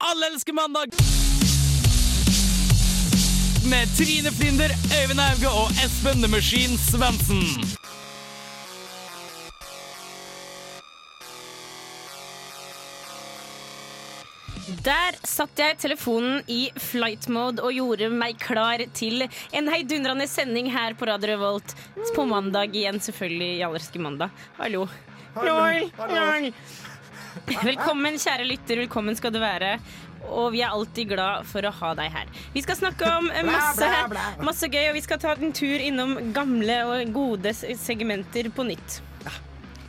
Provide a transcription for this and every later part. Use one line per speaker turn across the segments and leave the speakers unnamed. Alle elsker mandag! Med Trine Flinder, Øyvind Auge og Espen The Machine Svendsen.
Der satt jeg telefonen i flight mode og gjorde meg klar til en heidundrende sending her på Radio Revolt. På mandag igjen, selvfølgelig. i Allerske mandag. Hallo. Hallo. Hallo. Velkommen, kjære lytter. Velkommen skal du være. Og vi er alltid glad for å ha deg her. Vi skal snakke om masse, masse gøy, og vi skal ta en tur innom gamle og gode se- segmenter på nytt.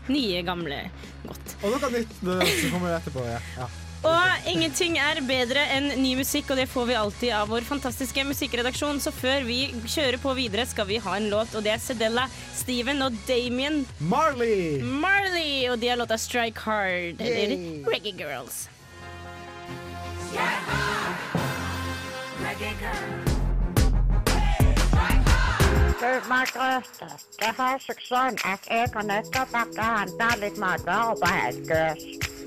Nye, gamle. Godt.
Og noe nytt det, som kommer etterpå. Ja. Ja.
Og ingenting er bedre enn ny musikk, og det får vi alltid av vår fantastiske musikkredaksjon. Så før vi kjører på videre, skal vi ha en låt, og det er Sedella, Steven og Damien
Marley!
Marley, og de har låta 'Strike Hard', eller
Yay.
Reggae Girls.
Følg meg grøfte. Det har seg sånn at jeg har nettopp vært og handlet litt matvarer på Helgøs.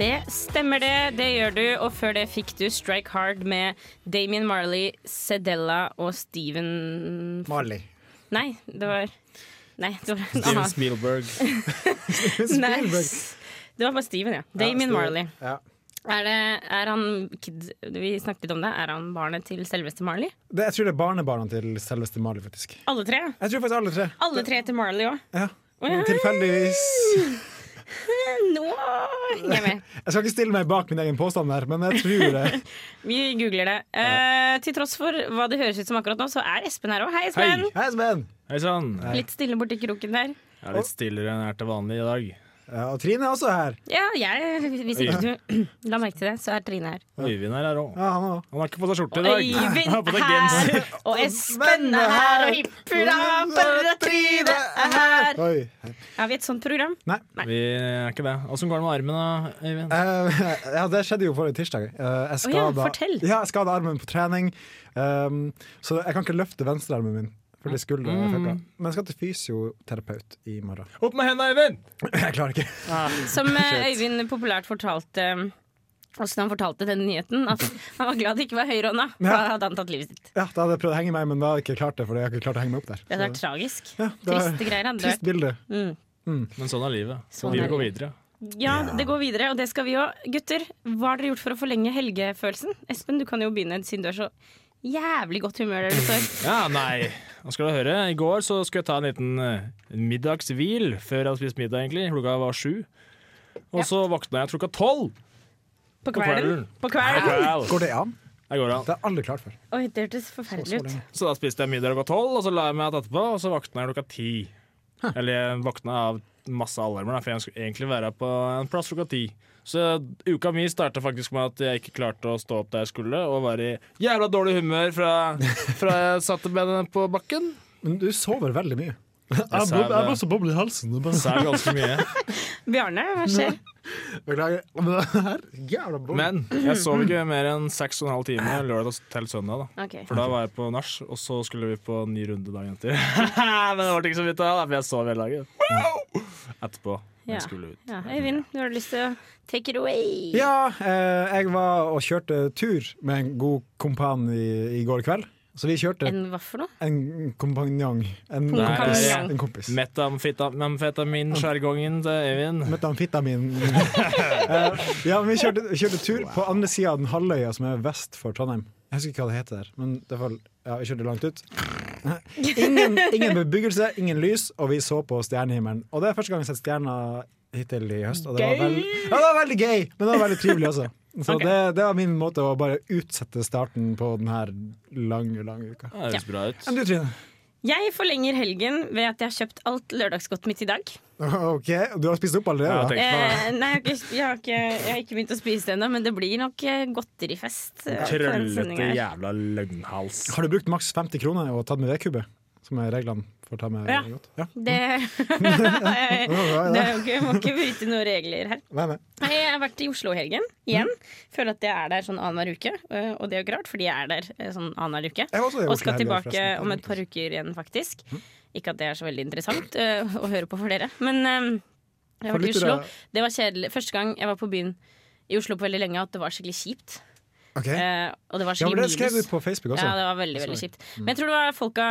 Det stemmer det, det gjør du. Og før det fikk du Strike Hard med Damien Marley, Sedella og Steven
Marley.
Nei, det var Nei, det var en
Steven
annen.
Spielberg.
Nei,
Spielberg.
Det var bare Steven, ja. Damien
Ja,
Marley.
Ja.
Er, det, er han kid, Vi snakket litt om det. Er han barnet til selveste Marley?
Det, jeg tror det er barnebarna til selveste Marley, faktisk.
Alle tre? ja.
Jeg tror faktisk alle tre.
Alle tre til Marley òg.
Ja.
ja.
Tilfeldigvis.
Nå henger jeg med.
Jeg skal ikke stille meg bak min egen påstand der, men jeg tror det.
Vi googler det. Eh, til tross for hva det høres ut som akkurat nå, så er Espen her òg. Hei, Espen!
Hei, Sven!
Hei sann! Jeg
Litt stille borti kroken der.
er litt stillere enn jeg er til vanlig i dag.
Ja, og Trine er også her.
Ja, jeg Hvis ikke du la merke til det, så er Trine her.
Øyvind her er òg.
Ja, han også.
Han har ikke på seg skjorte i dag. Han har på
Øyvind
seg genser.
her, og Espen er her, og hipp hurra for at Trine er her.
Oi.
Er vi et sånt program?
Nei.
Vi er ikke det. Åssen går det med armen, da, Øyvind?
Eh, ja, det skjedde jo forrige tirsdag. Eh, jeg
Å ja,
skada-
fortell.
Ja, jeg skada armen på trening, ehm, så jeg kan ikke løfte venstrearmen min. Fordi skulderen
Mm.
er fucka. Men jeg skal til fysioterapeut i morgen.
Opp med hendene, Øyvind!
Jeg klarer ikke.
Som eh, Øyvind populært fortalte eh, oss da han fortalte denne nyheten, at han var glad det ikke var høyrehånda. for Da
Ja.
hadde han tatt livet sitt.
Ja, da hadde jeg prøvd å henge meg, men da hadde jeg ikke klart det. Fordi jeg har ikke klart å henge meg opp der
Det hadde vært tragisk.
Ja, det er-
Triste greier hadde det
Trist
vært.
bilde.
Mm.
Men sånn er livet.
Sånn er
livet går
livet.
videre.
Ja, det går videre, og det skal vi òg. Gutter, hva har dere gjort for å forlenge helgefølelsen? Espen, du kan jo begynne, siden du er så jævlig godt humør der du står.
Ja, nei. Nå skal du høre. I går så skulle jeg ta en liten eh, middagshvil før jeg hadde spist middag, egentlig. Klokka var sju. Og så våkna jeg klokka tolv.
På kvelden. På kvelden.
Går
Går det?
det an?
Jeg går an.
Det har jeg aldri klart før.
Oi, det hørtes forferdelig ut.
Så da spiste jeg middag klokka tolv, og så la jeg meg igjen etterpå, og så våkna jeg klokka ti. Eller jeg våkna av masse alarmer, da, for jeg skulle egentlig være på en plass klokka ti. Så uka mi starta faktisk med at jeg ikke klarte å stå opp der jeg skulle, og var i jævla dårlig humør fra, fra jeg satte beina på bakken.
Men du sover veldig mye.
Jeg sa det.
så boble i halsen. det er bare-
Så er det ganske mye.
Bjarne, hva skjer?
Beklager. Men det her, jævla boble.
Men jeg sov ikke mer enn seks og en halv time lørdag til søndag. da
Ok.
For da var jeg på nach, og så skulle vi på en ny runde dagen etter. Men det ble ikke så vidt av, da, for jeg sov hele dagen. Wow! Etterpå. når
Ja.
Jeg skulle ut.
Ja, Øyvind, du har lyst til å take it away.
Ja, eh, jeg var og kjørte tur med en god kompan i, i går kveld. Så vi kjørte
En hva for noe?
En kompanjong. En
Nei,
kompis.
ja.
En kompis.
Metamfetamin-sjargongen til Øyvind.
Metamfetamin. Eh, ja, men vi kjørte, vi kjørte tur på andre sida av den halvøya som er vest for Trondheim. Jeg husker ikke hva det heter der, men det var, ja, vi kjørte langt ut. Ingen, ingen bebyggelse, ingen lys, og vi så på stjernehimmelen. Og det er første gang jeg har sett stjerna hittil i høst, og det var, veld, ja, det var veldig gøy! Men det var veldig trivelig også. Så
Ok.
det, det var min måte å bare utsette starten på denne lange, lange uka.
Ja, Det høres bra ut.
Enn du, Trine?
Jeg forlenger helgen ved at jeg har kjøpt alt lørdagsgodt mitt i dag.
Ok, Du har spist opp
Ja,
allerede?
tenk på
Eh, nei, jeg har, ikke, jeg, har ikke, jeg har ikke begynt å spise det ennå, men det blir nok eh, godterifest. eh, på den
Trøllete
sendingen her.
jævla løgnhals.
har du brukt maks 50 kroner og tatt med vedkubbe? Som er reglene for å ta med
Ja.
godt? Ja.
Det, det er jo ikke, må ikke bryte noen regler her.
Nei, nei.
Nei, Jeg har vært i Oslo i helgen igjen.
Mm.
Føler at jeg er der sånn annenhver uke. eh, Og det er jo ikke rart, fordi jeg er der eh, sånn annenhver uke.
Jeg var også i
Og
Oslo i
skal
helga,
tilbake
forresten. Mm.
om et par uker igjen, faktisk. Ikke at det er så veldig interessant eh, å høre på for dere, men eh, jeg
For
har vært i
lyttere-
Oslo. Det var kjedelig. Første gang jeg var på byen i Oslo på veldig lenge, at det var skikkelig kjipt.
Ok.
Eh, og det var
Ja,
skikkelig
men det skrev du
minus.
på Facebook også.
Ja, det var veldig, veldig kjipt.
Mm.
Men jeg tror det var folka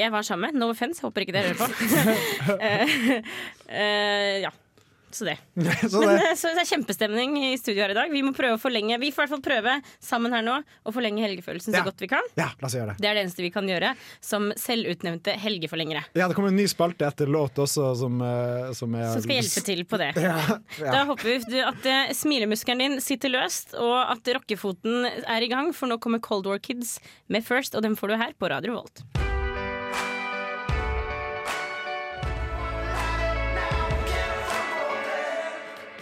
jeg var sammen med. No offense, håper ikke dere hører på. Eh, eh, ja, så det.
Så
Men,
det,
eh, så det er kjempestemning i studio her i dag. Vi må prøve å forlenge Vi får i hvert fall prøve sammen her nå å forlenge helgefølelsen
Ja.
så godt vi kan.
ja, la oss gjøre det.
Det er det eneste vi kan gjøre som selvutnevnte helgeforlengere.
Ja, det kommer en ny spalte etter låt også, som, eh, som er
Som skal hjelpe til på det.
Ja,
Da
ja.
håper vi at eh, smilemuskelen din sitter løst, og at rockefoten er i gang, for nå kommer Cold War Kids med First, og dem får du her på Radio Volt.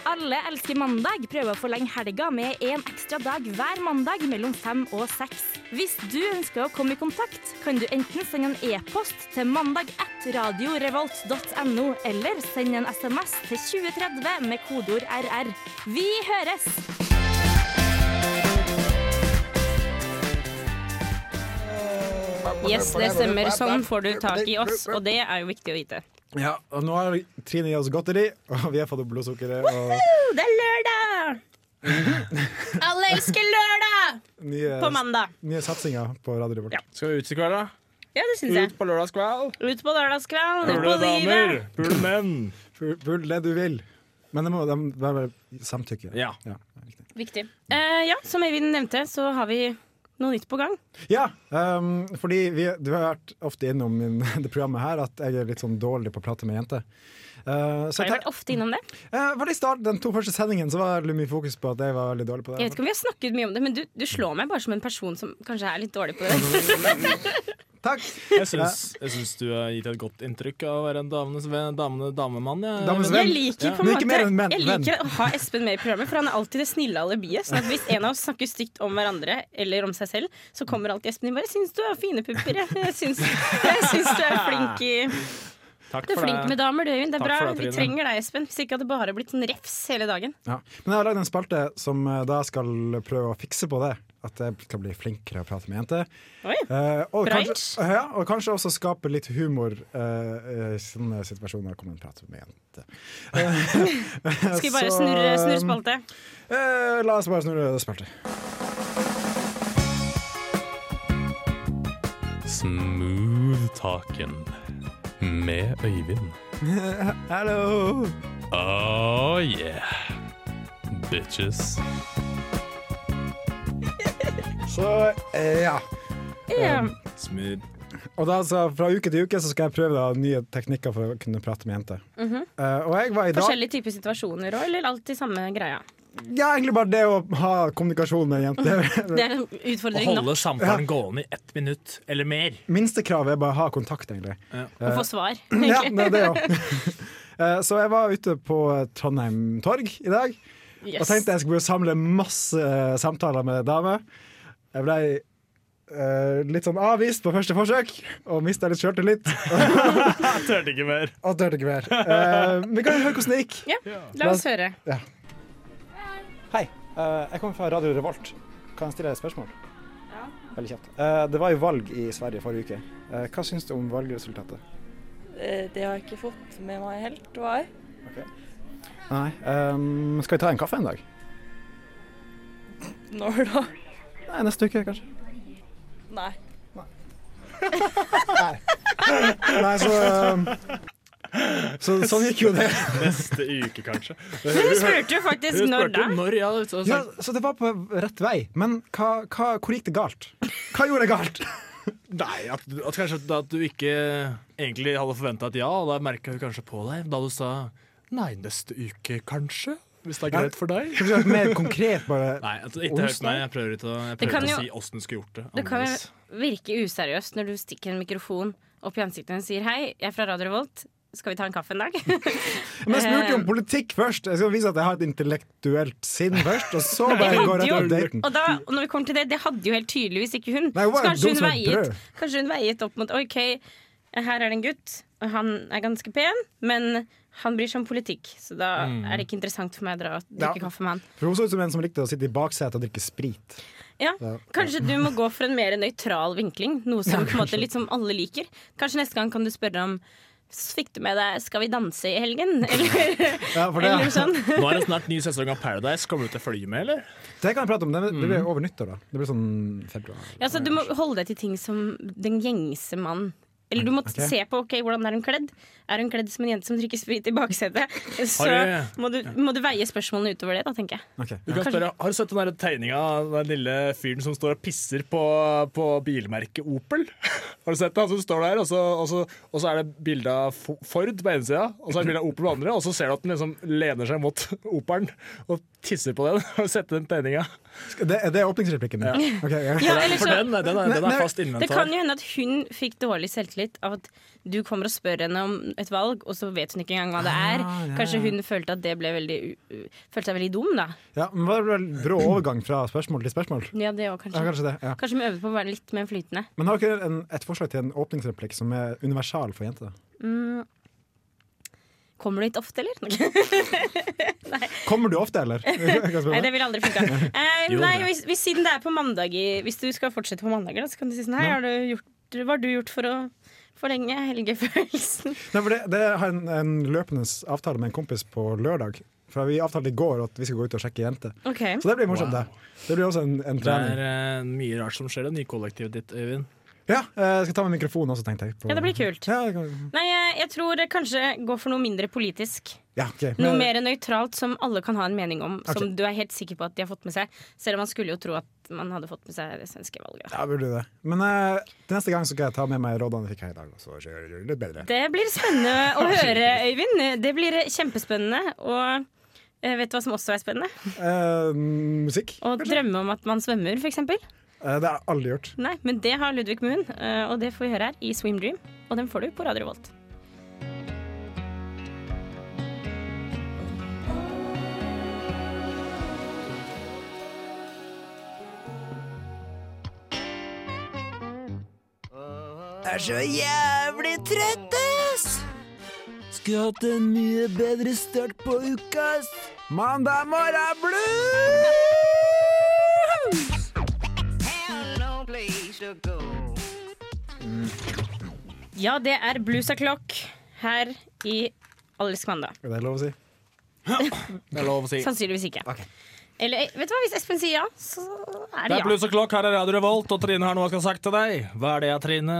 Alle elsker mandag prøver å forlenge helga med en ekstra dag hver mandag mellom fem og seks. Hvis du ønsker å komme i kontakt, kan du enten sende en e-post til mandag1radiorevolt.no, eller sende en SMS til 2030 med kodeord RR. Vi høres!
Yes, det stemmer. Sånn får du tak i oss, og det er jo viktig å vite.
ja, og nå har Trine gitt oss godteri, og vi har fått opp blodsukkeret og
Det er lørdag! Alle elsker lørdag!
nye,
På mandag.
nye satsinger på radioen vårt.
Ja.
Skal vi ut i kveld, da?
Ja, det syns jeg.
Ut på lørdagskveld?
Ut på lørdagskvelden, ut
Pule
på
damer,
livet.
pule menn.
Full full det du vil. Men det må det må være samtykke.
Ja.
riktig.
Viktig. Eh, ja, som Eivind nevnte, så har vi noe nytt på gang.
Ja, ehm, fordi vi, du har vært ofte innom min, det programmet her at jeg er litt sånn dårlig på å prate med jenter. Eh, så
Har
jeg
du
tenk,
vært ofte innom det?
eh, veldig start, Den to første sendingen så var det mye fokus på at jeg var veldig dårlig på
Jeg vet
det.
ikke om vi har snakket mye om det, men du, du slår meg bare som en person som kanskje er litt dårlig på det.
Takk!
Jeg syns, jeg syns du har gitt et godt inntrykk av å være en damenes venn, damene, damemann. jeg.
Damenes venn.
Jeg liker på en
Men ikke mer enn
måte
menn,
Jeg liker å ha Espen med i programmet, for han er alltid det snille alibiet. Sånn at hvis en av oss snakker stygt om hverandre eller om seg selv, så kommer alltid Espen inn bare 'Syns du har fine pupper, jeg. Jeg syns, jeg syns du er flink i
Takk
Du er
for
flink med
det.
damer, du, Øyvind. Det er
Takk for
bra.
det,
Vi
Trine.
trenger deg, Espen. Hvis ikke hadde det bare blitt sånn refs hele dagen.
Ja. Men jeg har lagd en spalte som eh, da skal prøve å fikse på det. At jeg skal bli flinkere å prate med jenter.
Oi.
Eh, og,
Bra
kanskje, ja, og kanskje også skape litt humor eh, i sånne situasjoner. Kommer en prat med jenter.
Skal vi bare
Så,
snurre, snurre spalte?
Eh, la oss bare snurre spalte.
Smooth-taken med Øyvind.
Hallo!
Oh yeah, bitches.
Så eh, ja.
Ja.
Smooth.
Og da, så, fra uke til uke så skal jeg prøve da, nye teknikker for å kunne prate med jenter. Eh, og jeg var i dag
Forskjellige typer situasjoner òg, eller alltid samme greia?
Ja, egentlig bare det å ha kommunikasjon med jenter.
Det er en
Å
utfordring nok
holde samtalen gående i ett minutt eller mer.
Minstekravet er bare å ha kontakt, egentlig.
å få svar.
Ja, det er det òg. Så jeg var ute på Trondheim torg i dag og
Yes.
tenkte jeg skulle samle masse eh, samtaler med damer. Jeg blei eh, litt sånn avvist på første forsøk og mista litt sjøltillit.
Tørte ikke mer.
Og dørte ikke mer. Eh, men kan vi høre hvordan det gikk?
Ja, la oss høre.
Hei, eh, jeg kommer fra Radio Revolt. Kan jeg stille deg et spørsmål? Veldig kjapt. Eh, Det var jo valg i Sverige forrige uke. Eh, Hva syns du om valgresultatet?
Eh, Det har jeg ikke fått med meg helt, hva er?
Nei. ehm, skal vi ta en kaffe en dag?
Når da?
Nei, Neste uke, kanskje.
Nei.
Nei, så, ehm, så Sånn gikk jo det.
Neste uke, kanskje.
Du spurte jo faktisk
Hun
når da.
spurte når, ja. Så,
Ja, så det var på rett vei. Men hva, hva, hvor gikk det galt? Hva gjorde jeg galt?
Nei, at, at kanskje at- at du ikke egentlig hadde forventa et ja, og da merka hun kanskje på deg da du sa nei, neste uke kanskje? Hvis det er greit for deg?
Kanskje vært mer konkret, bare.
Nei, at, ikke hørt meg. Jeg prøver ikke å, jeg
Det
prøver
kan
ikke å
jo-
si åssen du skulle gjort det.
Det kan
annerledes.
jo virke useriøst når du stikker en mikrofon opp i ansiktet og sier hei, jeg er fra Radio Revolt. Skal vi ta en kaffe en dag?
Men jeg spurte jo om politikk først. Jeg skal vise at jeg har et intellektuelt sinn først, og så
Jeg
bare gå
hadde
rett
jo,
på daten.
og da, og når vi kommer til det, det hadde jo helt tydeligvis ikke hun.
Nei,
Så
hun var jo
kanskje,
dum
hun
som et brød.
veiet, kanskje hun veiet opp mot OK, her er det en gutt, og han er ganske pen, men han bryr seg om politikk, så da
Mm.
er det ikke interessant for meg å dra og drikke
Ja.
kaffe med han.
For hun så ut som en som likte å sitte i baksetet og drikke sprit.
Ja, Kanskje du må gå for en mer nøytral vinkling, noe som på en måte litt som alle liker. Kanskje neste gang kan du spørre om Fikk du med deg 'Skal vi danse i helgen'? Eller,
Ja, for det,
eller sånn.
Nå er det snart ny sesong av Paradise. Kommer du til å følge med, eller?
det kan jeg prate om. Det, det
Mm.
blir over nyttår, da. Det blir sånn februar.
Ja, så du må holde deg til ting som den gjengse mann. Eller du må
Ok.
se på ok, hvordan er hun kledd. Er hun kledd som en jente som drikker sprit i baksetet? Så
Har
må du, må du veie spørsmålene utover det, da, tenker jeg.
Ok.
Du kan spørre, Har du sett den der tegninga av den lille fyren som står og pisser på, på bilmerket Opel? Har du sett det? Han som står der, og så, og så, og så er det bilde av Fo- Ford på ene sida, og så er det bilde av Opel på den andre, og så ser du at den liksom lener seg mot Opelen og tisser på den. Har du sett den tegninga?
Skal- Det, det er åpningsreplikken min. Ok,
Ja,
ja.
For
eller
den- for
så-
den, er- den, er, den er fast
Det kan
inventar.
jo hende at hun fikk dårlig selvtillit av at du kommer og spør henne om et valg, og så vet hun ikke engang hva det er.
Ah, ja,
Kanskje
ja.
hun følte at det ble veldig u- u- Følte seg veldig dum, da.
Ja, men det var en brå overgang fra spørsmål til spørsmål.
Ja, det òg,
Ja,
kanskje.
kanskje det. Ja.
Kanskje vi øvde på å være litt mer flytende.
Men har dere en, et forslag til en åpningsreplikk som er universal for jenter?
Kommer du hit ofte, eller?
Kommer du ofte, eller? Jeg kan spørre.
Nei, det ville aldri funka. Eh,
Jo,
nei,
det.
hvis, hvis, siden det er på mandager Hvis du skal fortsette på mandager, da, så kan du si sånn Hei, har du gjort, hva har du gjort for å forlenge helgefølelsen?
Nei, for det, det har en, en løpende avtale med en kompis på lørdag. For vi avtalte i går at vi skal gå ut og sjekke jenter.
Ok,
Så det blir morsomt, det. Det blir også en, en
Det
trening.
er eh, mye rart som skjer i det nye kollektivet ditt, Øyvind.
Ja, eh, jeg skal ta med mikrofonen også, tenkte jeg. på-
Ja, det blir kult.
Ja, jeg kan-
Nei, jeg, jeg tror jeg kanskje gå for noe mindre politisk.
ja, ok.
Noe
Men-
mer nøytralt som alle kan ha en mening om,
Ok.
som du er helt sikker på at de har fått med seg. Selv om man skulle jo tro at man hadde fått med seg det svenske valget.
Ja, burde du det. Men eh, til neste gang så skal jeg ta med meg rådene jeg fikk her i dag. Og så gjør jeg det litt bedre.
Det blir spennende å høre, Øyvind. Det blir kjempespennende. Og eh, vet du hva som også er spennende?
Eh, musikk?
Å drømme om at man svømmer, f.eks.
Eh, det har jeg aldri gjort.
Nei, men det har Ludvig Moon, eh, og det får vi høre her i Swim Dream. Og den får du på Radio Revolt.
er så jævlig trøtt, ass! Skulle hatt en mye bedre start på uka, ass! Mandag morgen er blues!
Ja, det er Blues O'Clock her i Alice Kvanda.
Er det lov å si?
Det er lov å si.
Sannsynligvis ikke. Eller eh, vet du hva, hvis Espen sier ja, så er
Det
det
er
ja.
Blues og Klokk, her er Radio Revolt, og Trine har noe hun skal ha sagt til deg. Hva er det, Trine?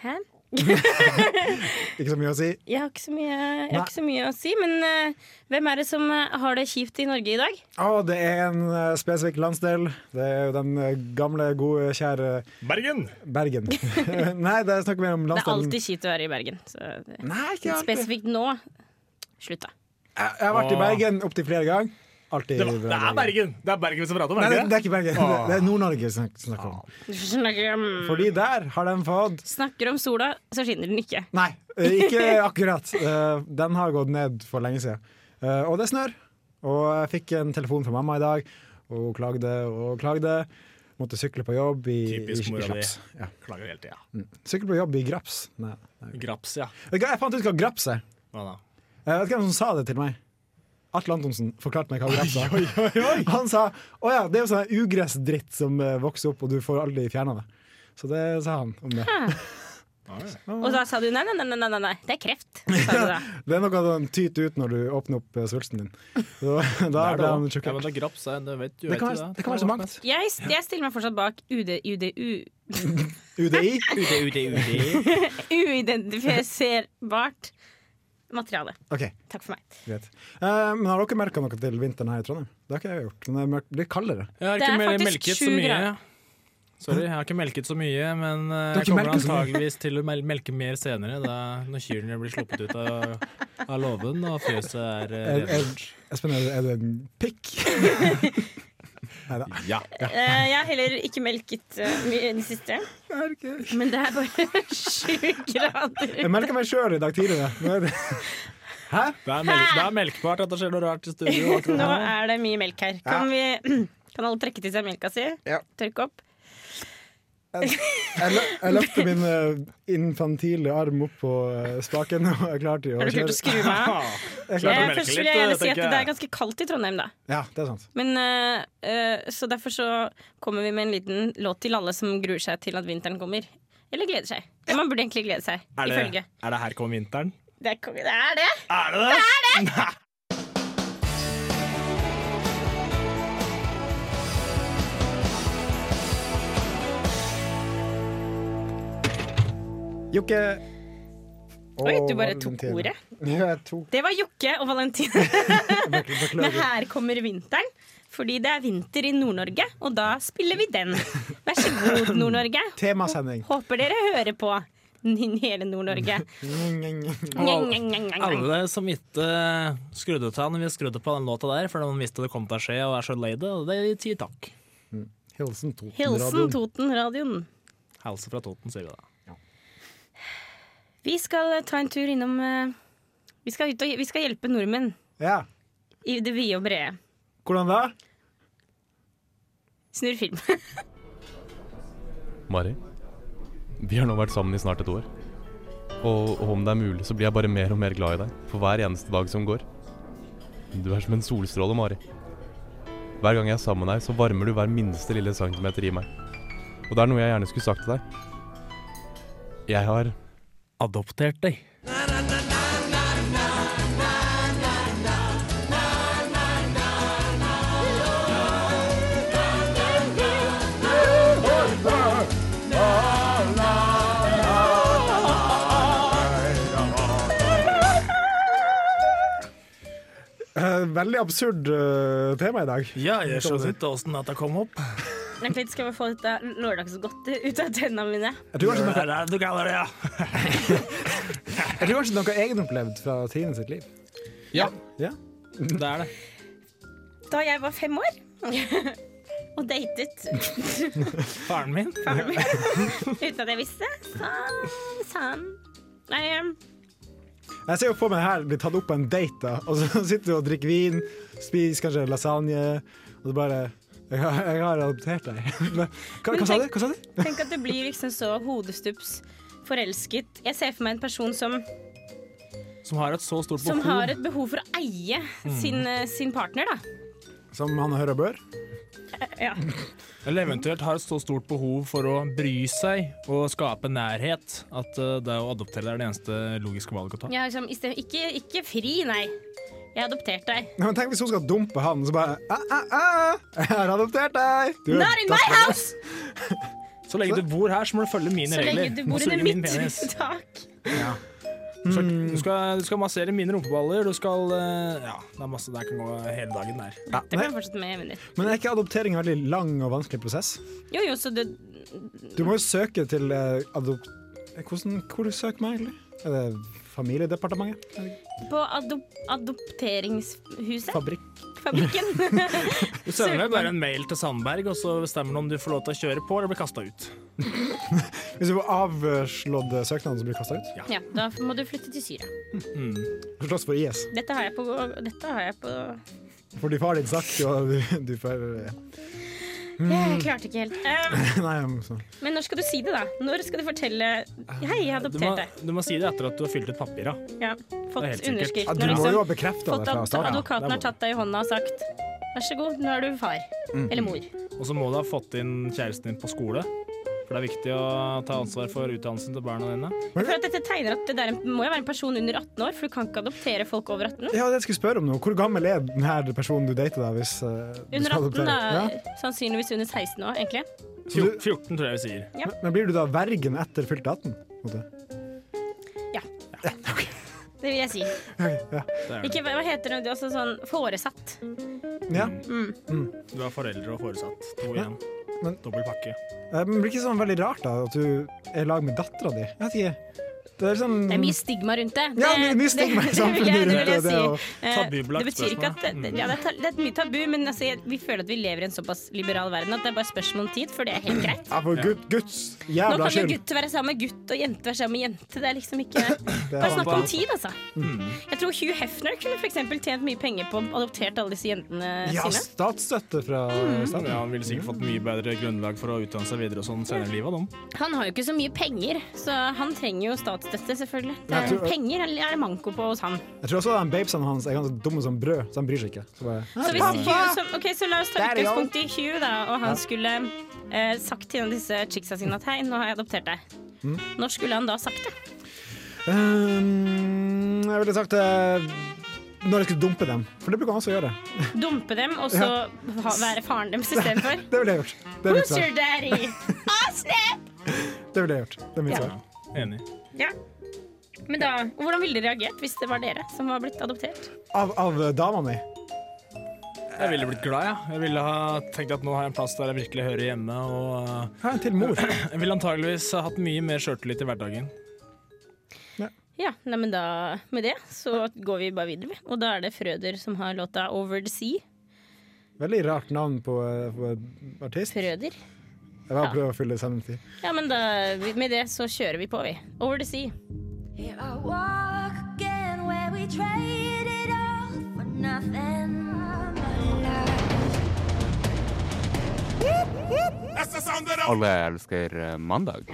Hæ?
Ikke så mye å si.
Jeg har ikke så mye, jeg har ikke så mye å si, men eh, hvem er det som eh, har det kjipt i Norge i dag?
Å, det er en eh, spesifikk landsdel. Det er jo den eh, gamle, gode, kjære
Bergen!
Bergen. Nei, det er snakk mer om
Det er
landsdelen.
alltid kjipt å være i Bergen. Så det-
Nei, ikke alltid.
spesifikt nå. Slutt, da.
Jeg, jeg har vært i
Åh.
Bergen opptil flere ganger. Alltid
Det, var, det er Bergen! Det er Bergen vi skal prate om,
Nei,
er
det,
det
det
ikke det?
er ikke Bergen.
Åh.
Det er Nord-Norge vi snak- snakker om.
Snakker om,
Fordi der har de fått
snakker om sola, så skinner den ikke.
Nei, eh, ikke akkurat. Eh, Den har gått ned for lenge siden. Eh, Og det snør. Og jeg fikk en telefon fra mamma i dag, og hun klagde og klagde. Måtte sykle på jobb i,
Typisk
i, i
mora di.
graps. Ja.
Klager hele tida.
Sykle på jobb i graps. Nei.
Graps, ja.
Vet du hva, Jeg fant ut hva graps er.
Hva da?
Jeg Eh, vet ikke hvem som sa det til meg. Atle Antonsen forklarte meg hva graps er. Han sa å ja, det er jo sånn ugressdritt som eh, vokser opp, og du får aldri fjerna det. Så det sa han om det.
Og da sa du nei, nei, nei, nei, nei, nei. det er kreft. Sa du da.
Det er noe som tyter ut når du åpner opp eh, svulsten din. Så, da
Ja,
ble han
Ja, men
sjokkert.
det er graps, det det vet du
Det kan
vet du
være, det kan være så mangt.
Jeg, jeg stiller meg fortsatt bak UD, UDU.
UDI.
UD, UD, UD.
uidentifiserbart materiale.
OK,
Takk for meg.
greit. Eh, men har dere merka noe til vinteren her i Trondheim? Det har ikke jeg gjort. Men det er mørkt- blir kaldere.
Jeg har
Det
ikke
er
mer
faktisk
melket
sju
så mye.
grader.
Sorry, jeg har ikke melket så mye, men eh,
har
jeg
ikke
kommer
melket så mye?
antageligvis til å mel- melke mer senere, da, når kyrne blir sluppet ut av, av låven og fjøset er eh,
Er, er,
rengjort.
Espen, er, du- er du en pikk? Neida.
Ja.
Eh, jeg har heller ikke melket eh, mye i det siste. Men det er bare sju grader.
Jeg melka meg sjøl i dag tidlig. da. Nå er det-
Det er, mel det er melkbart at det skjer noe rart i studio. akkurat
Nå
nå.
er det mye melk her. Kan, vi, kan alle trekke til seg melka si? Tørke opp?
Jeg, lø- jeg løfter min eh, infantile arm opp på eh, spaken og er klar til å
Har du klart å skru meg av?
Ah,
Jeg
klart å
Eh,
melke
Først vil
litt,
jeg gjerne
tenker
si at det
jeg.
er ganske kaldt i Trondheim, da.
Ja, det er sant.
Men, eh, eh, så derfor så kommer vi med en liten låt til alle som gruer seg til at vinteren kommer. Eller gleder seg. Man burde egentlig glede seg,
Er det,
ifølge.
er det her kommer vinteren?
Det er, det er det!
Er det det?
Jokke.
Oi,
Og
du bare tok
Valentine.
ordet.
Ja, jeg tok
Det var Jokke og Valentine. Men
Beklager.
her kommer vinteren, fordi det er vinter i Nord-Norge, og da spiller vi den. Vær så god, Nord-Norge.
Temasending.
Håper dere hører på n- hele Nord-Norge. Njeng, njeng, njeng, njeng, njeng.
Alle som ikke skrudde til han, vi skrudde på den låta der, for de visste det kom til å skje, og er så lei det. Og det sier takk.
Hilsen Toten.
Hilsen Toten-radioen.
Helse fra Toten, sier vi da.
Vi skal eh, ta en tur innom eh, vi skal, ut og, vi skal hjelpe nordmenn
Ja.
i det vide og brede.
Hvordan da?
Snurr film.
Mari, vi har nå vært sammen i snart et år. Og, og om det er mulig, så blir jeg bare mer og mer glad i deg for hver eneste dag som går. Du er som en solstråle, Mari. Hver gang jeg er sammen med deg, så varmer du hver minste lille centimeter i meg. Og det er noe jeg gjerne skulle sagt til deg. Jeg har
Adoptert deg.
Eh, veldig absurd eh, tema i dag.
Ja, jeg skjønner ikke åssen dette kom opp.
Vent litt, skal vi få dette lørdagsgodtet ut av tennene mine.
Jeg tror kanskje
Det
noe,
er det du kaller det, ja.
jeg tror kanskje noe egenopplevd fra Trine sitt liv.
Ja.
Ja.
Det er det.
Da jeg var fem år og datet
Faren min.
faren min uten at jeg visste, så sa han Nei, em,
Jeg ser jo på meg det her blir tatt opp på en date, da. og så sitter du og drikker vin, spiser kanskje lasagne, og så bare jeg har, jeg har adoptert deg. Hva, hva sa du? Hva sa du?
Tenk at det blir liksom så hodestups forelsket. Jeg ser for meg en person som,
Som har et så stort
som
behov. Mm.
har et behov for å eie sin, eh, sin partner, da.
Som han hører og bør?
Ja.
Eller eventuelt har et så stort behov for å bry seg og skape nærhet at eh, det å adoptere er det eneste logiske valget å ta.
Jeg har liksom, i stedet- ikke, ikke fri, nei. Jeg har adoptert deg.
Nei, men tenk hvis hun skal dumpe han, så bare «Æ, æ, æ, Jeg har adoptert deg! Du,
Not in my house!
Så lenge du bor her, så må du følge mine
Så
regler.
lenge du
Må
bor under
suge min
mitt
penis.
tak.
Så Du skal, du skal massere mine rumpeballer, du skal eh, Ja, det er masse der kan gå hele dagen der.
Ja,
Det kan jeg
nei.
fortsette med, venner.
Men er ikke adoptering en veldig lang og vanskelig prosess?
Jo, jo, så du
Du må jo søke til eh, adop... Hvordan, hvor du søker meg, egentlig? Er det Familiedepartementet?
På adop adopteringshuset?
Fabrikk?
Fabrikken?
Du sender vel bare en mail til Sandberg, og så bestemmer han om du får lov til å kjøre på eller bli kasta ut.
Hvis du får avslått eh, søknaden som blir kasta ut?
ja, da må du flytte til Syria.
Slåss for IS.
Dette har jeg på, dette har jeg på
Fordi far din stakk, og du, du får ja. Mm.
Jeg klarte ikke helt. Eh,
Nei, men så-
Men når skal du si det, da? Når skal du fortelle Hei, jeg har
Du må,
adoptert deg.
du må si det etter at du har fylt ut papira.
Ja,
Det er
fått
helt sikkert.
ja,
underskrift.
Du
Når
må jo
liksom,
ha bekrefta
fått
det fra
ad
starten.
advokaten har tatt deg i hånda og sagt Vær så god, nå er du far.
Mm.
Eller mor.
Og så må du ha fått inn kjæresten din på skole. For det er viktig å ta ansvar for utdannelsen til barna dine.
For at dette tegner at det der må jo være en person under 18 år, for du kan ikke adoptere folk over 18.
Ja, det jeg skulle spørre om nå. Hvor gammel er denne personen du dater, da? Hvis, eh, du
Under
skal
18,
adoptere?
da. eh,
Ja.
Sannsynligvis under 16 òg, egentlig.
Så du-
14, tror jeg vi sier.
Ja.
Men blir du da vergen etter fylt 18? på en måte?
Det vil jeg si.
Ja.
Ikke, hva hva heter det, det er også sånn foresatt.
ja.
Du har foreldre og foresatt. To igjen.
men-
Dobbel pakke.
Eh, Men blir ikke sånn veldig rart da at du er i lag med dattera di? Jeg vet ikke. Det er sånn
Det er mye stigma rundt det.
Ja, mye- mye stigma i
det-
samfunnet
det vil jeg-
rundt
det. vil
det, det er
jeg
jo-
si. Eh,
Tabubelagt
det betyr ikke at det, det- ja, det, er, ta- det er mye tabu, men altså, jeg, vi føler at vi lever i en såpass liberal verden at det er bare spørsmål om tid før det er helt greit.
Ja, for Gud, Guds
Nå
jævla
kan jo
skyld.
gutt være sammen med gutt og jente være sammen med jente. Det er liksom ikke
Det er
Bare snakk om
sant. Mm.
tid, altså. Jeg tror Hugh Hefner kunne for eksempel tjent mye penger på å adoptert alle disse jentene
Ja,
sine.
statsstøtte fra
Mm.
staten.
Ja, han ville sikkert fått mye bedre grunnlag for å utdanne seg videre og sånn senere i livet. av dem.
Han har jo ikke så mye penger, så han trenger jo statsstøtte, selvfølgelig. Det
Jeg
er,
tror-
penger er det manko på hos han.
Jeg tror også de babesene hans er ganske dumme som brød, så han bryr seg ikke. Så bare,
Så, hvis Hugh, så, ok, så la oss ta
Der er jeg.
utgangspunkt i Hugh, da, og han skulle eh, sagt til en av disse chicksa sine at hei, nå har jeg adoptert deg. Når skulle han da sagt det?
Ehm, jeg ville sagt eh, når jeg skulle dumpe dem, for det bruker han også å gjøre.
Dumpe dem, og så ha, være faren deres istedenfor?
Det ville jeg gjort. Det er mitt
Who's your
svar.
daddy? Åsne!
Det ville jeg gjort. Det er mitt svar.
Enig.
Ja. Men da, hvordan ville dere reagert hvis det var dere som var blitt adoptert?
Av, av dama mi.
Jeg ville blitt glad, ja. Jeg ville ha tenkt at nå har jeg en plass der jeg virkelig hører hjemme. Og eh,
Ja, til mor.
jeg ville antageligvis ha hatt mye mer sjøltillit i hverdagen.
Ja, nei, men da, Med det så går vi bare videre. vi. Og da er det Frøder som har låta 'Over the Sea'.
Veldig rart navn på, eh, på en artist. Jeg
Frøder.
bare prøver å fylle det sammen til.
Ja, men da, Med det så kjører vi på, vi. 'Over the Sea'.
Here I walk again where we traded all for nothing.
Alle elsker eh, mandag.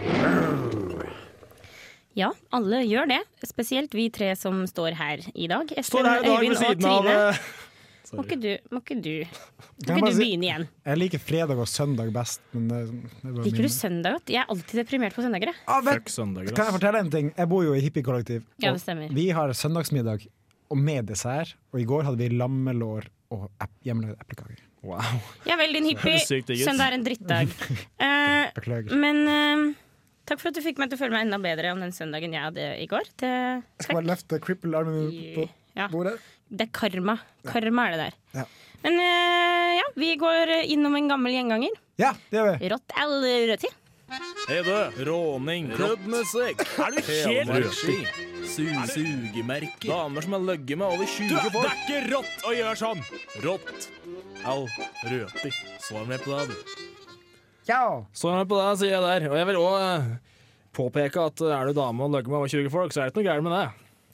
Ja, alle gjør det. Spesielt vi tre som står her i dag. Espen,
Står her i dag ved
Øyvind og
siden av
Trine.
eh,
Må ikke du, må ikke du, må
jeg
ikke
bare
du
si-
begynne igjen?
Jeg liker fredag og søndag best, men det, det er bare
Liker du
min-
søndag godt? Jeg er alltid deprimert på søndager. jeg.
ah, vent,
Fuck søndager,
Kan jeg
ass.
fortelle en ting? Jeg bor jo i hippiekollektiv.
Ja,
og
det stemmer.
Vi har søndagsmiddag og med dessert, og i går hadde vi lammelår og ep- hjemmelagde eplekaker.
Wow.
Ja vel, din hippie.
høres sykt digg ut.
Søndag er en drittdag. Eh,
Beklager.
men eh, takk for at du fikk meg til å føle meg enda bedre om den søndagen jeg hadde i går. Det,
Jeg skal bare løfte cripple-armen på
ja,
bordet.
det er karma. Karma er det der.
Ja.
Men eh, ja, vi går innom en gammel gjenganger.
Ja, det gjør vi.
Rått eller rødt i?
Hei, du. Råning. Rød musikk. Er du helt rødski? Sugemerker. Damer som har løgget med over 20 folk. Det er ikke rått å gjøre sånn! Rått. Au. Røti. Svar meg på det, du.
Ja.
Svar meg på det, sier jeg der. Og jeg vil òg påpeke at eh, er du dame og løgger med over 20 folk, så er det ikke noe gærent med det.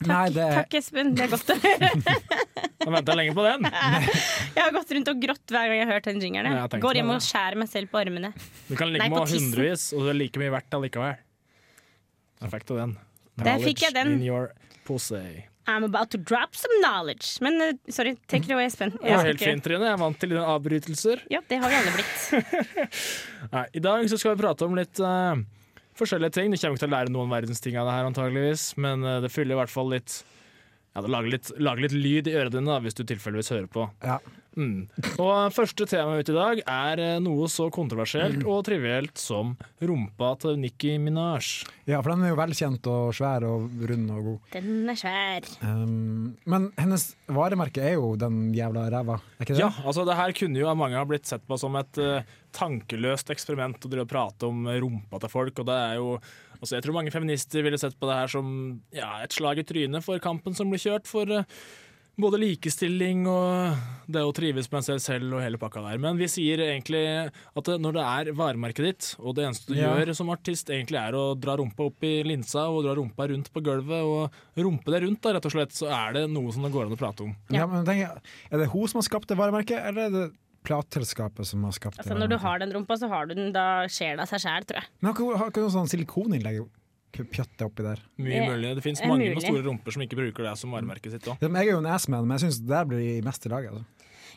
Nei, det
Takk, Espen. Det er godt å høre.
Da venter jeg lenge på den.
Jeg har gått rundt og grått hver gang jeg har hørt den jingeren.
Ja, jeg
jeg.
tenkte
Går hjem
det.
og skjærer meg selv på armene.
Du kan
Nei,
ligge
på
med
tissen.
hundrevis, og du er like mye verdt allikevel. Der fikk du den.
Der fikk jeg den.
In your pussy.
I'm about to drop some knowledge. Men eh, sorry, take it away, Espen.
Det
Jeg
var
skal
helt
ikke-
fint, Trine. Jeg er vant til dine avbrytelser.
Ja, det har vi alle blitt.
Nei, I dag så skal vi prate om litt eh, forskjellige ting. Du kommer ikke til å lære noen verdens ting av det her, antageligvis, men eh, det fyller i hvert fall litt ja, det lager litt, lager litt lyd i ørene dine da, hvis du tilfeldigvis hører på.
Ja.
Mm. Og første tema ut i dag er eh, noe så kontroversielt og trivielt som rumpa til Nikki Minaj.
ja, for den er jo velkjent og svær og rund og god.
Den er svær.
Um, men hennes varemerke er jo den jævla ræva, er ikke det?
Ja, altså det her kunne jo av mange ha blitt sett på som et eh, tankeløst eksperiment å drive og prate om eh, rumpa til folk, og det er jo altså Jeg tror mange feminister ville sett på det her som ja, et slag i trynet for kampen som blir kjørt for eh, både likestilling og det å trives med seg selv og hele pakka der. Men vi sier egentlig at eh, når det er varemerket ditt, og det eneste du
Ja.
gjør som artist, egentlig er å dra rumpa opp i linsa og dra rumpa rundt på gulvet og rumpe deg rundt, da, rett og slett, så er det noe som det går an å prate om.
Ja. men tenk, er det hun som har skapt det varemerket, eller er det plateselskapet som har skapt
Altså,
det?
når du har den rumpa, så har du den. Da skjer det av seg sjæl, tror jeg.
Men har ikke hun- har ikke hun sånn silikoninnlegg pjøtte oppi der?
Mye
Eh,
mulig. Det finnes
eh,
mange
mulig.
med store rumper som ikke bruker det som varemerket sitt. Også.
Jeg er jo en assman, men jeg syns der blir de mest i laget. Altså.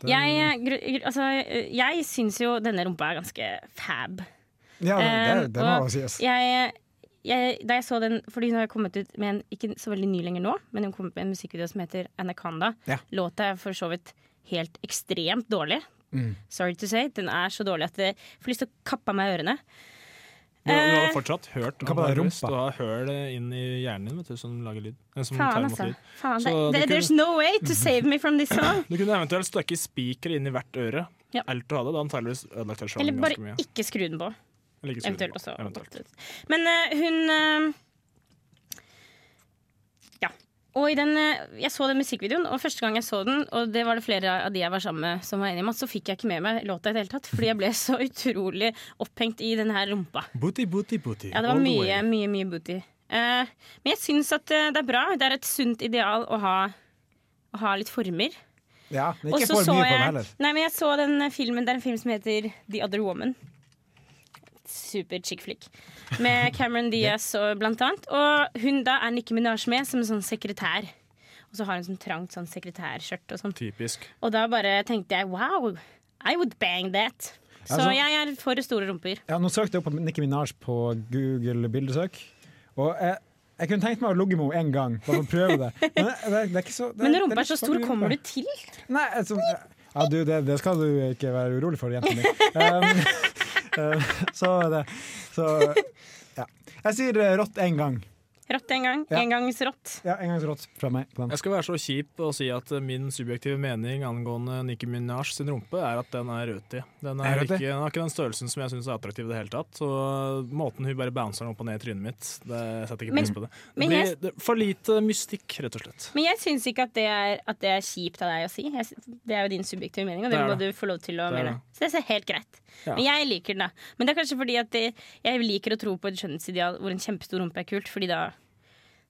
Det-
Jeg, eh, gru- gru- altså, eh, jeg syns jo denne rumpa er ganske fab.
Ja, det,
Eh,
det, det må
og
jo
altså.
sies.
Jeg, jeg, da jeg så den, fordi hun har jo kommet ut med en, ikke så veldig ny lenger nå, men hun kom ut med en musikkvideo som heter Anaconda.
Ja.
Låta er for så vidt helt ekstremt dårlig.
Mm.
Sorry to say. Den er så dårlig at jeg får lyst til å kappe av meg ørene. Eh,
Du, du har fortsatt hørt
Hva var det,
antageligvis.
rumpa?
Du har høl inn i hjernen din vet du, som lager lyd. eh, Som tar
Faen,
imot
altså.
lyd.
Faen, det,
Så
det,
du kunne-
there's no way to save me from this song.
Du kunne eventuelt støkke spiker inn i hvert øre.
Ja.
Alt du hadde, da antageligvis ødelagt deg sjøl
Eller
ganske mye.
bare ikke skru den på.
Eller ikke skru
Eventuelt
den på.
også.
Eventuelt.
Men eh, hun eh, Ja. Og i den, eh, jeg så den musikkvideoen, og første gang jeg så den, og det var det flere av de jeg var sammen med som var enige om, at så fikk jeg ikke med meg låta i det hele tatt, fordi jeg ble så utrolig opphengt i den her rumpa.
Booty, booty, booty.
Ja, det var mye, mye, mye booty. Eh, men jeg syns at eh, det er bra. Det er et sunt ideal å ha, å ha litt former.
Ja, men
Og
ikke
så
for
så
mye på
jeg-
den heller.
Nei, men jeg så den eh, filmen, det er en film som heter The Other Woman. Super chick flick. Med Cameron Diaz og blant annet. Og hun da er Nicki Minaj med som en sånn sekretær. Og så har hun sånn trangt sånn sekretærskjørt og sånn.
Typisk.
Og da bare tenkte jeg wow, I would bang that. Så
Altså-
jeg er for store rumper.
Ja, nå søkte jeg opp på Nicki Minaj på Google bildesøk, og jeg, jeg kunne tenkt meg å ligge med henne en gang, bare for å prøve det. Men, det, det, det er ikke så, det,
Men
det
når rumpa er så
litt farlig
stor,
rumpe.
kommer du til?
Nei, altså, ja, du, det, det skal du ikke være urolig for, jenta mi. Um, um, så det Så ja. Jeg sier eh, rått én gang.
Rått en gang.
Ja.
Engangsrått.
Ja, en gangs rått fra meg. På den.
Jeg skal være så kjip og si at eh, min subjektive mening angående Nicki Minaj sin rumpe er at den er røti. Den
Er
er,
røti?
ikke, den har ikke den størrelsen som jeg syns er attraktiv i det hele tatt. Så måten hun bare bouncer den opp og ned i trynet mitt, det jeg setter ikke
Men-
pris på det. Det
men
blir
jeg-
det er for lite mystikk, rett og slett.
Men jeg syns ikke at det, er, at det er kjipt av deg å si. Jeg, sy- det er jo din subjektive mening, og det,
Det er
må
det.
du få lov til å
Det er
mene.
det.
Så det er helt greit.
Ja.
Men jeg liker den, da. Men det er kanskje fordi at det, jeg liker å tro på et skjønnhetsideal hvor en kjempestor rumpe er kult, fordi da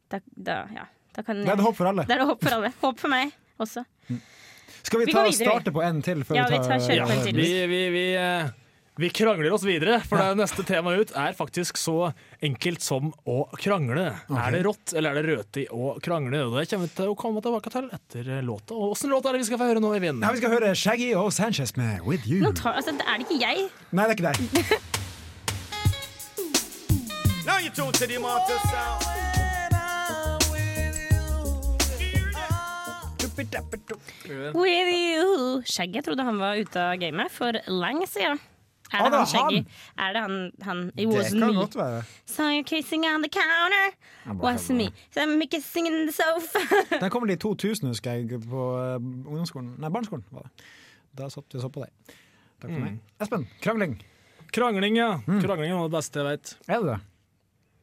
Da, da, ja, da kan
Det er det håp for alle.
Det er det håp for alle. Håp for meg også.
Skal vi,
Vi
ta
går
og
videre, vi.
starte på en til? Før
Ja, vi tar- kjører på en til.
Vi, vi, vi, eh, vi krangler oss videre, for det neste tema ut er faktisk så enkelt som å krangle. Er det rått eller er det røti å krangle? Og Det kommer vi til å komme tilbake til etter eh, låta. Og Åssen låt er det vi skal få høre nå, Evin?
Ja, vi skal høre Shaggy og Sanchez med 'With You'.
Nå tar, altså, det er det ikke jeg.
Nei, det er ikke deg.
Now you tune to the immortal sound.
With you. Shaggy, jeg trodde han var ute av gamet for lenge siden. Er
Ah,
det
det er
han Shaggy?
han.
Er det han, han It
Det
wasn't
kan
me.
godt være.
Saw you kissing on the counter.
Jeg bare
Wasn't me. So I'm kissing in the sofa.
Den kommer i 2000, husker jeg, på eh, ungdomsskolen. Nei, barneskolen. var det. Da satt vi og så på deg. Takk for
Mm.
meg. Espen, krangling.
Krangling, ja. Krangling er noe av det beste jeg vet.
Er det det?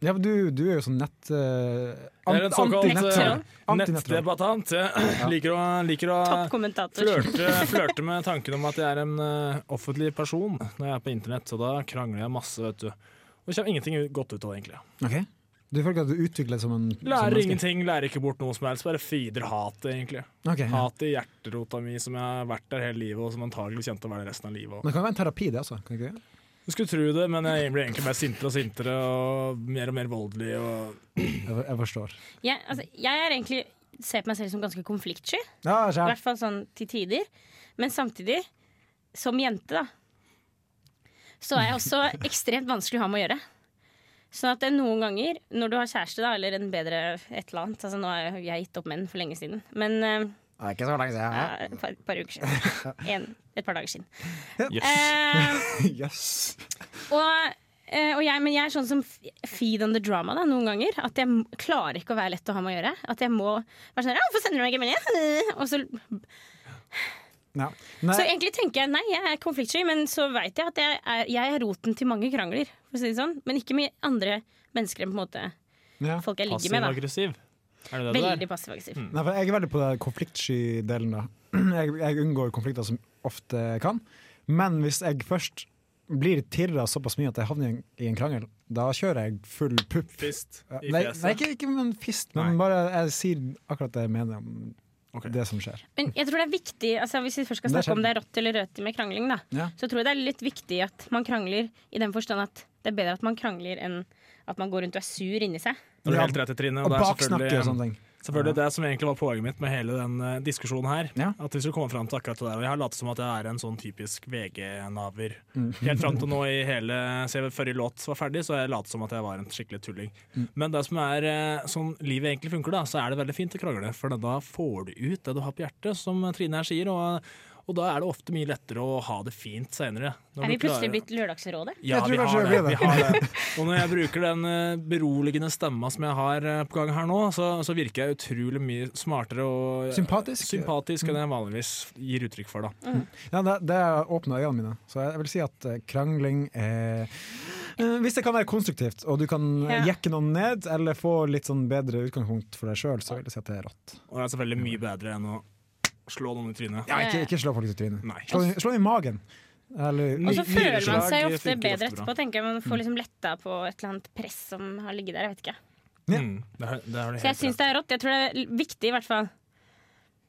Ja, men du, du er jo sånn nett... Uh,
Jeg er en såkalt eh, nettdebattant.
Ja.
Jeg liker å, liker å
Ah,
Toppkommentator.
flørte, flørte med tanken om at jeg er en eh, offentlig person når jeg er på internett, så da krangler jeg masse, vet du. Og det kommer ingenting ut- godt ut av det, egentlig.
Ok. Du føler ikke at du utvikler deg som en... som
Lærer
menneske?
ingenting, lærer ikke bort noe som helst. Bare feeder hatet, egentlig.
Ok, ja.
Hatet i hjerterota mi som jeg har vært der hele livet, og som antagelig kommer til å være det resten av
Men
livet.
det kan jo være en terapi det, altså. Kan ikke det?
Du skulle tro det, men jeg blir egentlig bare sintere og sintere, og mer og mer voldelig. Og
Jeg, jeg forstår.
Jeg, altså, jeg er egentlig ser på meg selv som ganske konfliktsky.
Ja,
I
skjær.
hvert fall sånn til tider. Men samtidig, som jente, da, så er jeg også ekstremt vanskelig å ha med å gjøre. Sånn at det er noen ganger, når du har kjæreste, da, eller en bedre et eller annet Altså, nå har jeg- jeg gitt opp menn for lenge siden, men eh,
Det er ikke så lenge siden.
ja, et par, par uker siden. En, et par dager siden.
Yes.
Eh,
Yes.
og, eh, og jeg, men jeg er sånn som f- feed on the drama da, noen ganger. At jeg m- klarer ikke å være lett å ha med å gjøre. At jeg må være sånn «Ja, 'Hvorfor sender du meg ikke melding?' Og så,
Ja.
så
Nei,
egentlig tenker jeg nei, jeg er konfliktsky, men så veit jeg at jeg er, jeg er roten til mange krangler. For å si det sånn. Men ikke med andre mennesker enn på en måte folk jeg ligger med. da
Passiv-aggressiv. Er Mm. det det
Veldig
det er?
passiv-aggressiv.
Nei, for jeg er veldig på den konfliktsky-delen. da. Jeg, jeg unngår konflikter som ofte kan. Men hvis jeg først blir tirra såpass mye at jeg havner i en, i en krangel, da kjører jeg full pupp.
Fist i
Nei,
fjeset.
nei ikke, ikke med en fist, men bare jeg sier akkurat det jeg mener om det som skjer.
Men jeg tror det er viktig, altså hvis vi først skal
Det er
snakke om
kjempe-
det er rått eller røti med krangling, da,
Ja.
så tror jeg det er litt viktig at man krangler i den forstand at det er bedre at man krangler enn at man går rundt og er sur inni seg.
Det er du helt rett i Trine.
Og
det er
baksnakke
selvfølgelig-
og sånne ting.
Selvfølgelig det som egentlig var poenget mitt med hele den eh, diskusjonen her. At vi skulle komme frem til akkurat det der. Og jeg har latt som at jeg er en sånn typisk VG-naver.
Mm.
Helt fram til nå i hele se, forrige låt var ferdig, så har jeg latt som at jeg var en skikkelig tulling.
Mm.
Men det som er eh, sånn livet egentlig funker, da, så er det veldig fint å krangle. For da får du ut det du har på hjertet, som Trine her sier. Og, og da er det ofte mye lettere å ha det fint seinere.
Er vi plutselig blitt Lørdagsrådet?
Ja, vi har, det, vi har det. Og når jeg bruker den eh, beroligende stemma som jeg har eh, på gang her nå, så, så virker jeg utrolig mye smartere og eh,
Sympatisk. Mm.
sympatisk enn jeg vanligvis gir uttrykk for. Da.
Ja, det, det åpna øynene mine, så jeg vil si at eh, krangling er Eh, Hvis det kan være konstruktivt, og du kan eh,
Ja.
jekke noen ned, eller få litt sånn bedre utgangspunkt for deg sjøl, så vil jeg si at det er rått.
Og det er selvfølgelig mye bedre enn å slå noen i trynet.
Ja, ikke, ikke slå folk i trynet.
Nei.
Slå, dem- slå dem i magen. Eller,
Og så føler man seg jo
Nyreslag
ofte
funker
bedre
ofte bra.
etterpå, tenker jeg. Man
Mm.
får liksom letta på et eller annet press som har ligget der. Jeg vet ikke.
Mm, det har, det har du
Så jeg
helt
syns det er rått. Jeg tror det er l- viktig, i hvert fall.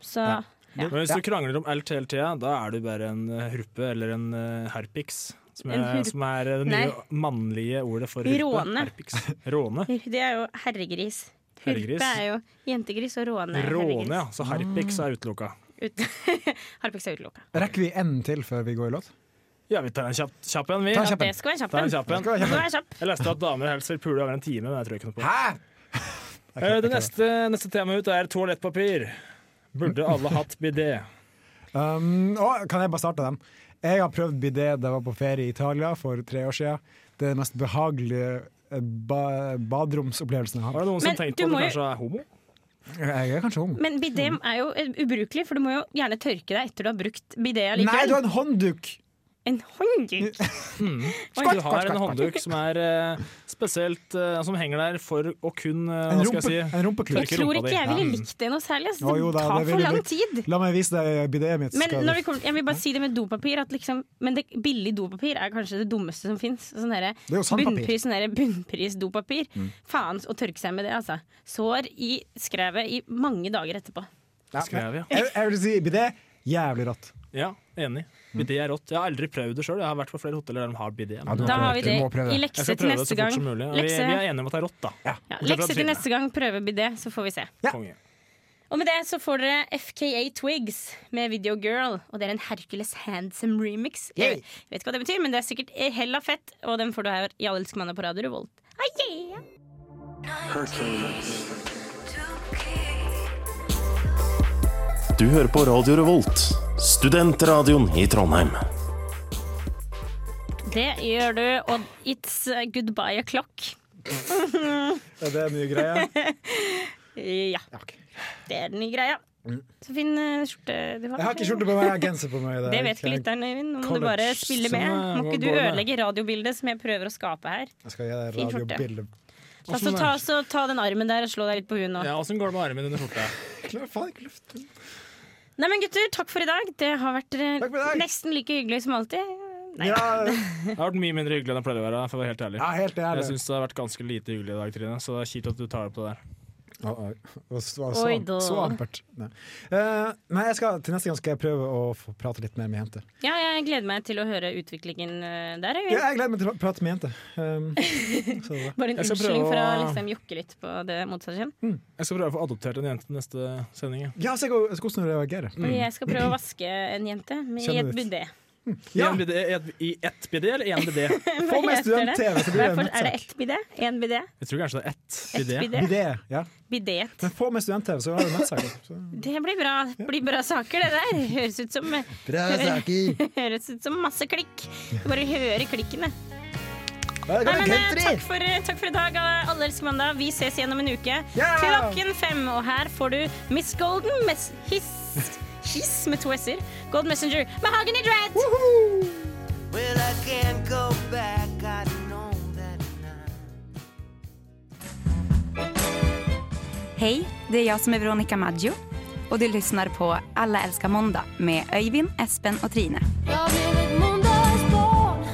Så ja.
Men hvis du krangler om LTLT, da er du bare en eh, hurpe eller en eh, herpix. Som
En
er,
hurp-
som er eh, det nye
Nei.
mannlige ordet for hurpe.
Råne.
Herpix. Råne.
Det er jo herregris.
Herregris.
Hurpe er jo jentegris, og råne er
Råne,
herregris.
ja. Så herpix er utelukka.
Ut Harpix er utelukka.
Rekker vi en til før vi går i låt?
Ja, vi tar en kjapp, kjapp en, vi.
Ta en kjapp en.
Ja, det skal være kjapp
Ta en
en.
kjapp en.
Det skal være kjapp en. Det skal være kjapp.
Jeg leste at damer helst vil pule over en time, men jeg tror ikke noe på det. Eh, Det neste, neste temaet ut er toalettpapir. Burde alle hatt bidé?
Um, å, kan jeg bare starte den? Jeg har prøvd bidé da jeg var på ferie i Italia for tre år siden. Det er den mest behagelige eh, ba baderomsopplevelsen jeg har.
Har det noen som Men tenkte du på at du må jo- kanskje er homo?
Jeg er kanskje homo.
Men bidé er jo eh, ubrukelig, for du må jo gjerne tørke deg etter du har brukt bidé
Nei, du
allikevel.
har en håndduk!
En håndduk!
Oi,
Skvatt,
du
skvatt,
har en
skvatt,
håndduk
skvatt.
som er eh, spesielt eh, Som henger der for å kun eh,
En
Hva skal jeg si?
rumpe- en rumpeklut.
Jeg
tørke
tror
rumpa
ikke
di.
jeg ville
Ja.
likt det noe særlig. Altså.
Å, Mm. jo
Det
da,
tar
det
for
vil
lang
du-
tid.
La meg vise deg bidéet mitt.
Men
skal
når
du-
vi kommer, jeg vil bare si det med dopapir at liksom, Men det billig dopapir er kanskje det dummeste som fins. Sånn derre
er jo sandpapir.
bunnpris, sånn derre bunnpris dopapir.
Mm.
Faen å tørke seg med det, altså. Sår i skrevet i mange dager etterpå.
Ja,
Skrev, ja.
jeg, jeg vil si bidé. Jævlig rått.
Ja, enig. Bidé er rått. Jeg har aldri prøvd det sjøl. Jeg har vært på flere hoteller der de har bidé.
Ja, du må Da prøve har det. vi det Du må prøve det. i lekse
Jeg skal
til
prøve det
neste
så fort
gang.
som mulig. Vi,
Lekse-
vi er enige om at det er rått, da.
Ja, lekse til neste gang, prøve bidé, så får vi se.
Konge.
Og med det så får dere FKA Twigs med Video Girl. Og det er en Hercules Handsome remix. Jeg vet ikke hva det betyr, men det er sikkert hella fett. Og den får du her i Alle elsker mandag på Radio Revolt. Ah, yeah!
Du hører på Radio Revolt, studentradioen i Trondheim.
Det gjør du, og it's a goodbye o'clock.
Er det en ny greie?
ja. Det er den nye greia.
Mm.
Så fin eh, skjorte du har.
Jeg har ikke skjorte på meg, jeg har genser på meg.
Det,
er
vet ikke
jeg-
lytteren, Øyvind. Nå må
College,
du bare spille med.
sånn,
Må
eh,
ikke du
går med.
ødelegge radiobildet som jeg prøver å skape her.
Jeg skal gi deg
Fin skjorte.
radiobilde.
Ta, så, ta, så, ta den armen der og slå deg litt på huet nå.
Ja, Åssen går det med armen under skjorta?
Klarer faen ikke å løfte den.
Nei, men gutter, takk for i dag. Det har vært eh, nesten like hyggelig som alltid. Nei.
Det har vært mye mindre hyggelig enn jeg pleier å være. For å være helt ærlig.
Ja, helt ærlig.
Jeg syns det har vært ganske lite hyggelig i dag, Trine. Så det er kjipt at du tar opp det der.
Å, oi. Det var så, så,
Oi da.
så ampert. Nei. Eh, nei, jeg skal, til neste gang skal jeg prøve å få prate litt mer med jenter.
Ja, jeg gleder meg til å høre utviklingen eh, der, Øyvind.
Ja, jeg gleder meg til å prate med jenter. Um, så det er bra.
Bare en
Jeg skal
unnskyldning
prøve
for å
å-
liksom jokke litt på det motsatte kjønn.
Jeg skal prøve å få adoptert en jente til neste sending. jeg.
Ja, se hvor- se hvordan hun reagerer.
Og jeg skal prøve å vaske en jente med i
Kjenner
et
ut.
bidé.
I en bidé- I et- i ett bidé eller én bidé?
Hva heter det? Derfor er det
nettsak.
ett bidé? Én bidé?
Jeg tror kanskje det er ett
Ett
bidé.
bidé.
Bidé, ja.
Bidé.
Men få med student-TV, så har du nettsak. Så-
Det blir bra. Det blir bra saker, det der. Høres ut som
saker.
Høres ut som masse klikk. Du bare hører klikkene.
det
Nei,
kommer
men, eh,
country!
takk, for, takk for i dag, eh, alle elsker mandag. Vi ses igjen om en uke.
Ja!
Klokken fem. Og her får du Miss Golden med hiss, hiss med to s-er. Gold Messenger med Hagen i dread.
Well, I can't go back, I know that
Hej, det är jag som är Veronica Maggio och du lyssnar på Alla älskar måndag med Öyvind, Espen och Trine.
Jag blev ett måndagsbarn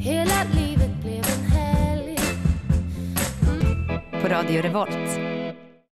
Hela livet blev en helg
På Radio Revolt.